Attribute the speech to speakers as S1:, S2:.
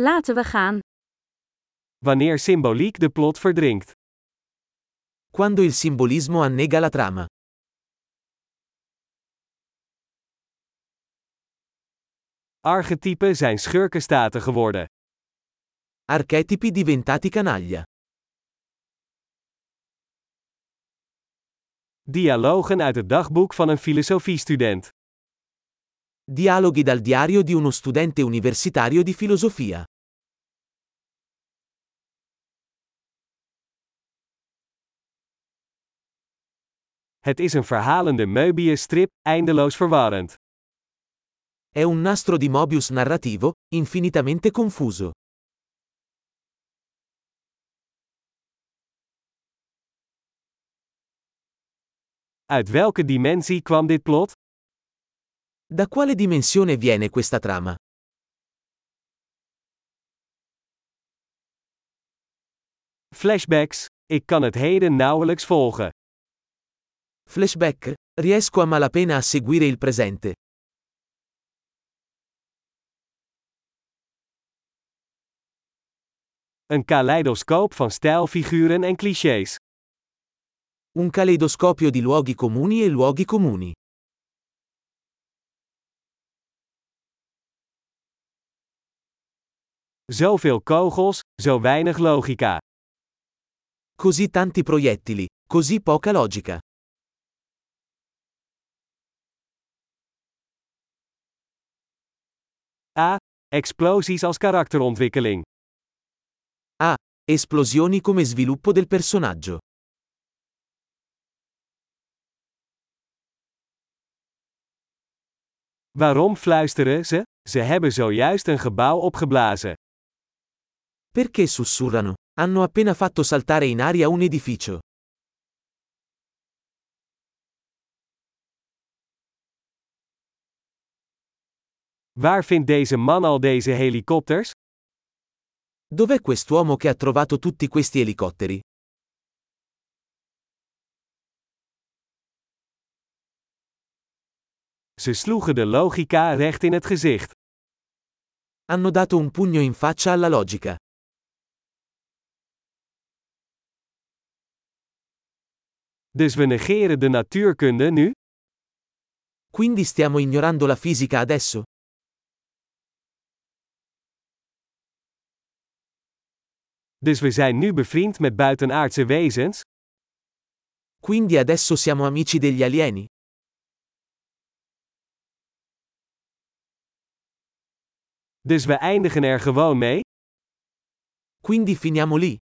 S1: Laten we gaan.
S2: Wanneer symboliek de plot verdrinkt.
S3: Quando il simbolismo annega la trama.
S2: Archetypen zijn schurkenstaten geworden.
S3: Archetipi diventati canaglia.
S2: Dialogen uit het dagboek van een filosofiestudent.
S3: Dialoghi dal diario di uno studente universitario di filosofia.
S2: Het is een verhalende Möbius-strip, eindeloos verwarrend.
S3: È un nastro di Mobius narrativo, infinitamente confuso.
S2: Uit welke dimensie kwam dit plot?
S3: Da quale dimensione viene questa trama?
S2: Flashbacks, ik kan het heden nauwelijks volgen.
S3: Flashback, riesco a malapena a seguire il presente.
S2: Een kaleidoscoop van stijlfiguren en clichés.
S3: Un caleidoscopio di luoghi comuni e luoghi comuni.
S2: Zoveel kogels, zo weinig logica.
S3: Così tanti proiettili, così poca logica.
S2: A. Explosies als karakterontwikkeling.
S3: A. Esplosioni come sviluppo del personaggio.
S2: Waarom fluisteren ze? Ze hebben zojuist een gebouw opgeblazen.
S3: Perché sussurrano? Hanno appena fatto saltare in aria un edificio.
S2: Waar vindt deze man al deze helikopters?
S3: Dov'è quest'uomo che ha trovato tutti questi elicotteri?
S2: Ze sloegen de logica recht in het gezicht.
S3: Hanno dato un pugno in faccia alla logica.
S2: Dus we negeren de natuurkunde nu?
S3: Quindi stiamo ignorando la fisica adesso?
S2: Dus we zijn nu bevriend met buitenaardse wezens?
S3: Quindi adesso siamo amici degli alieni?
S2: Dus we eindigen er gewoon mee?
S3: Quindi finiamo lì?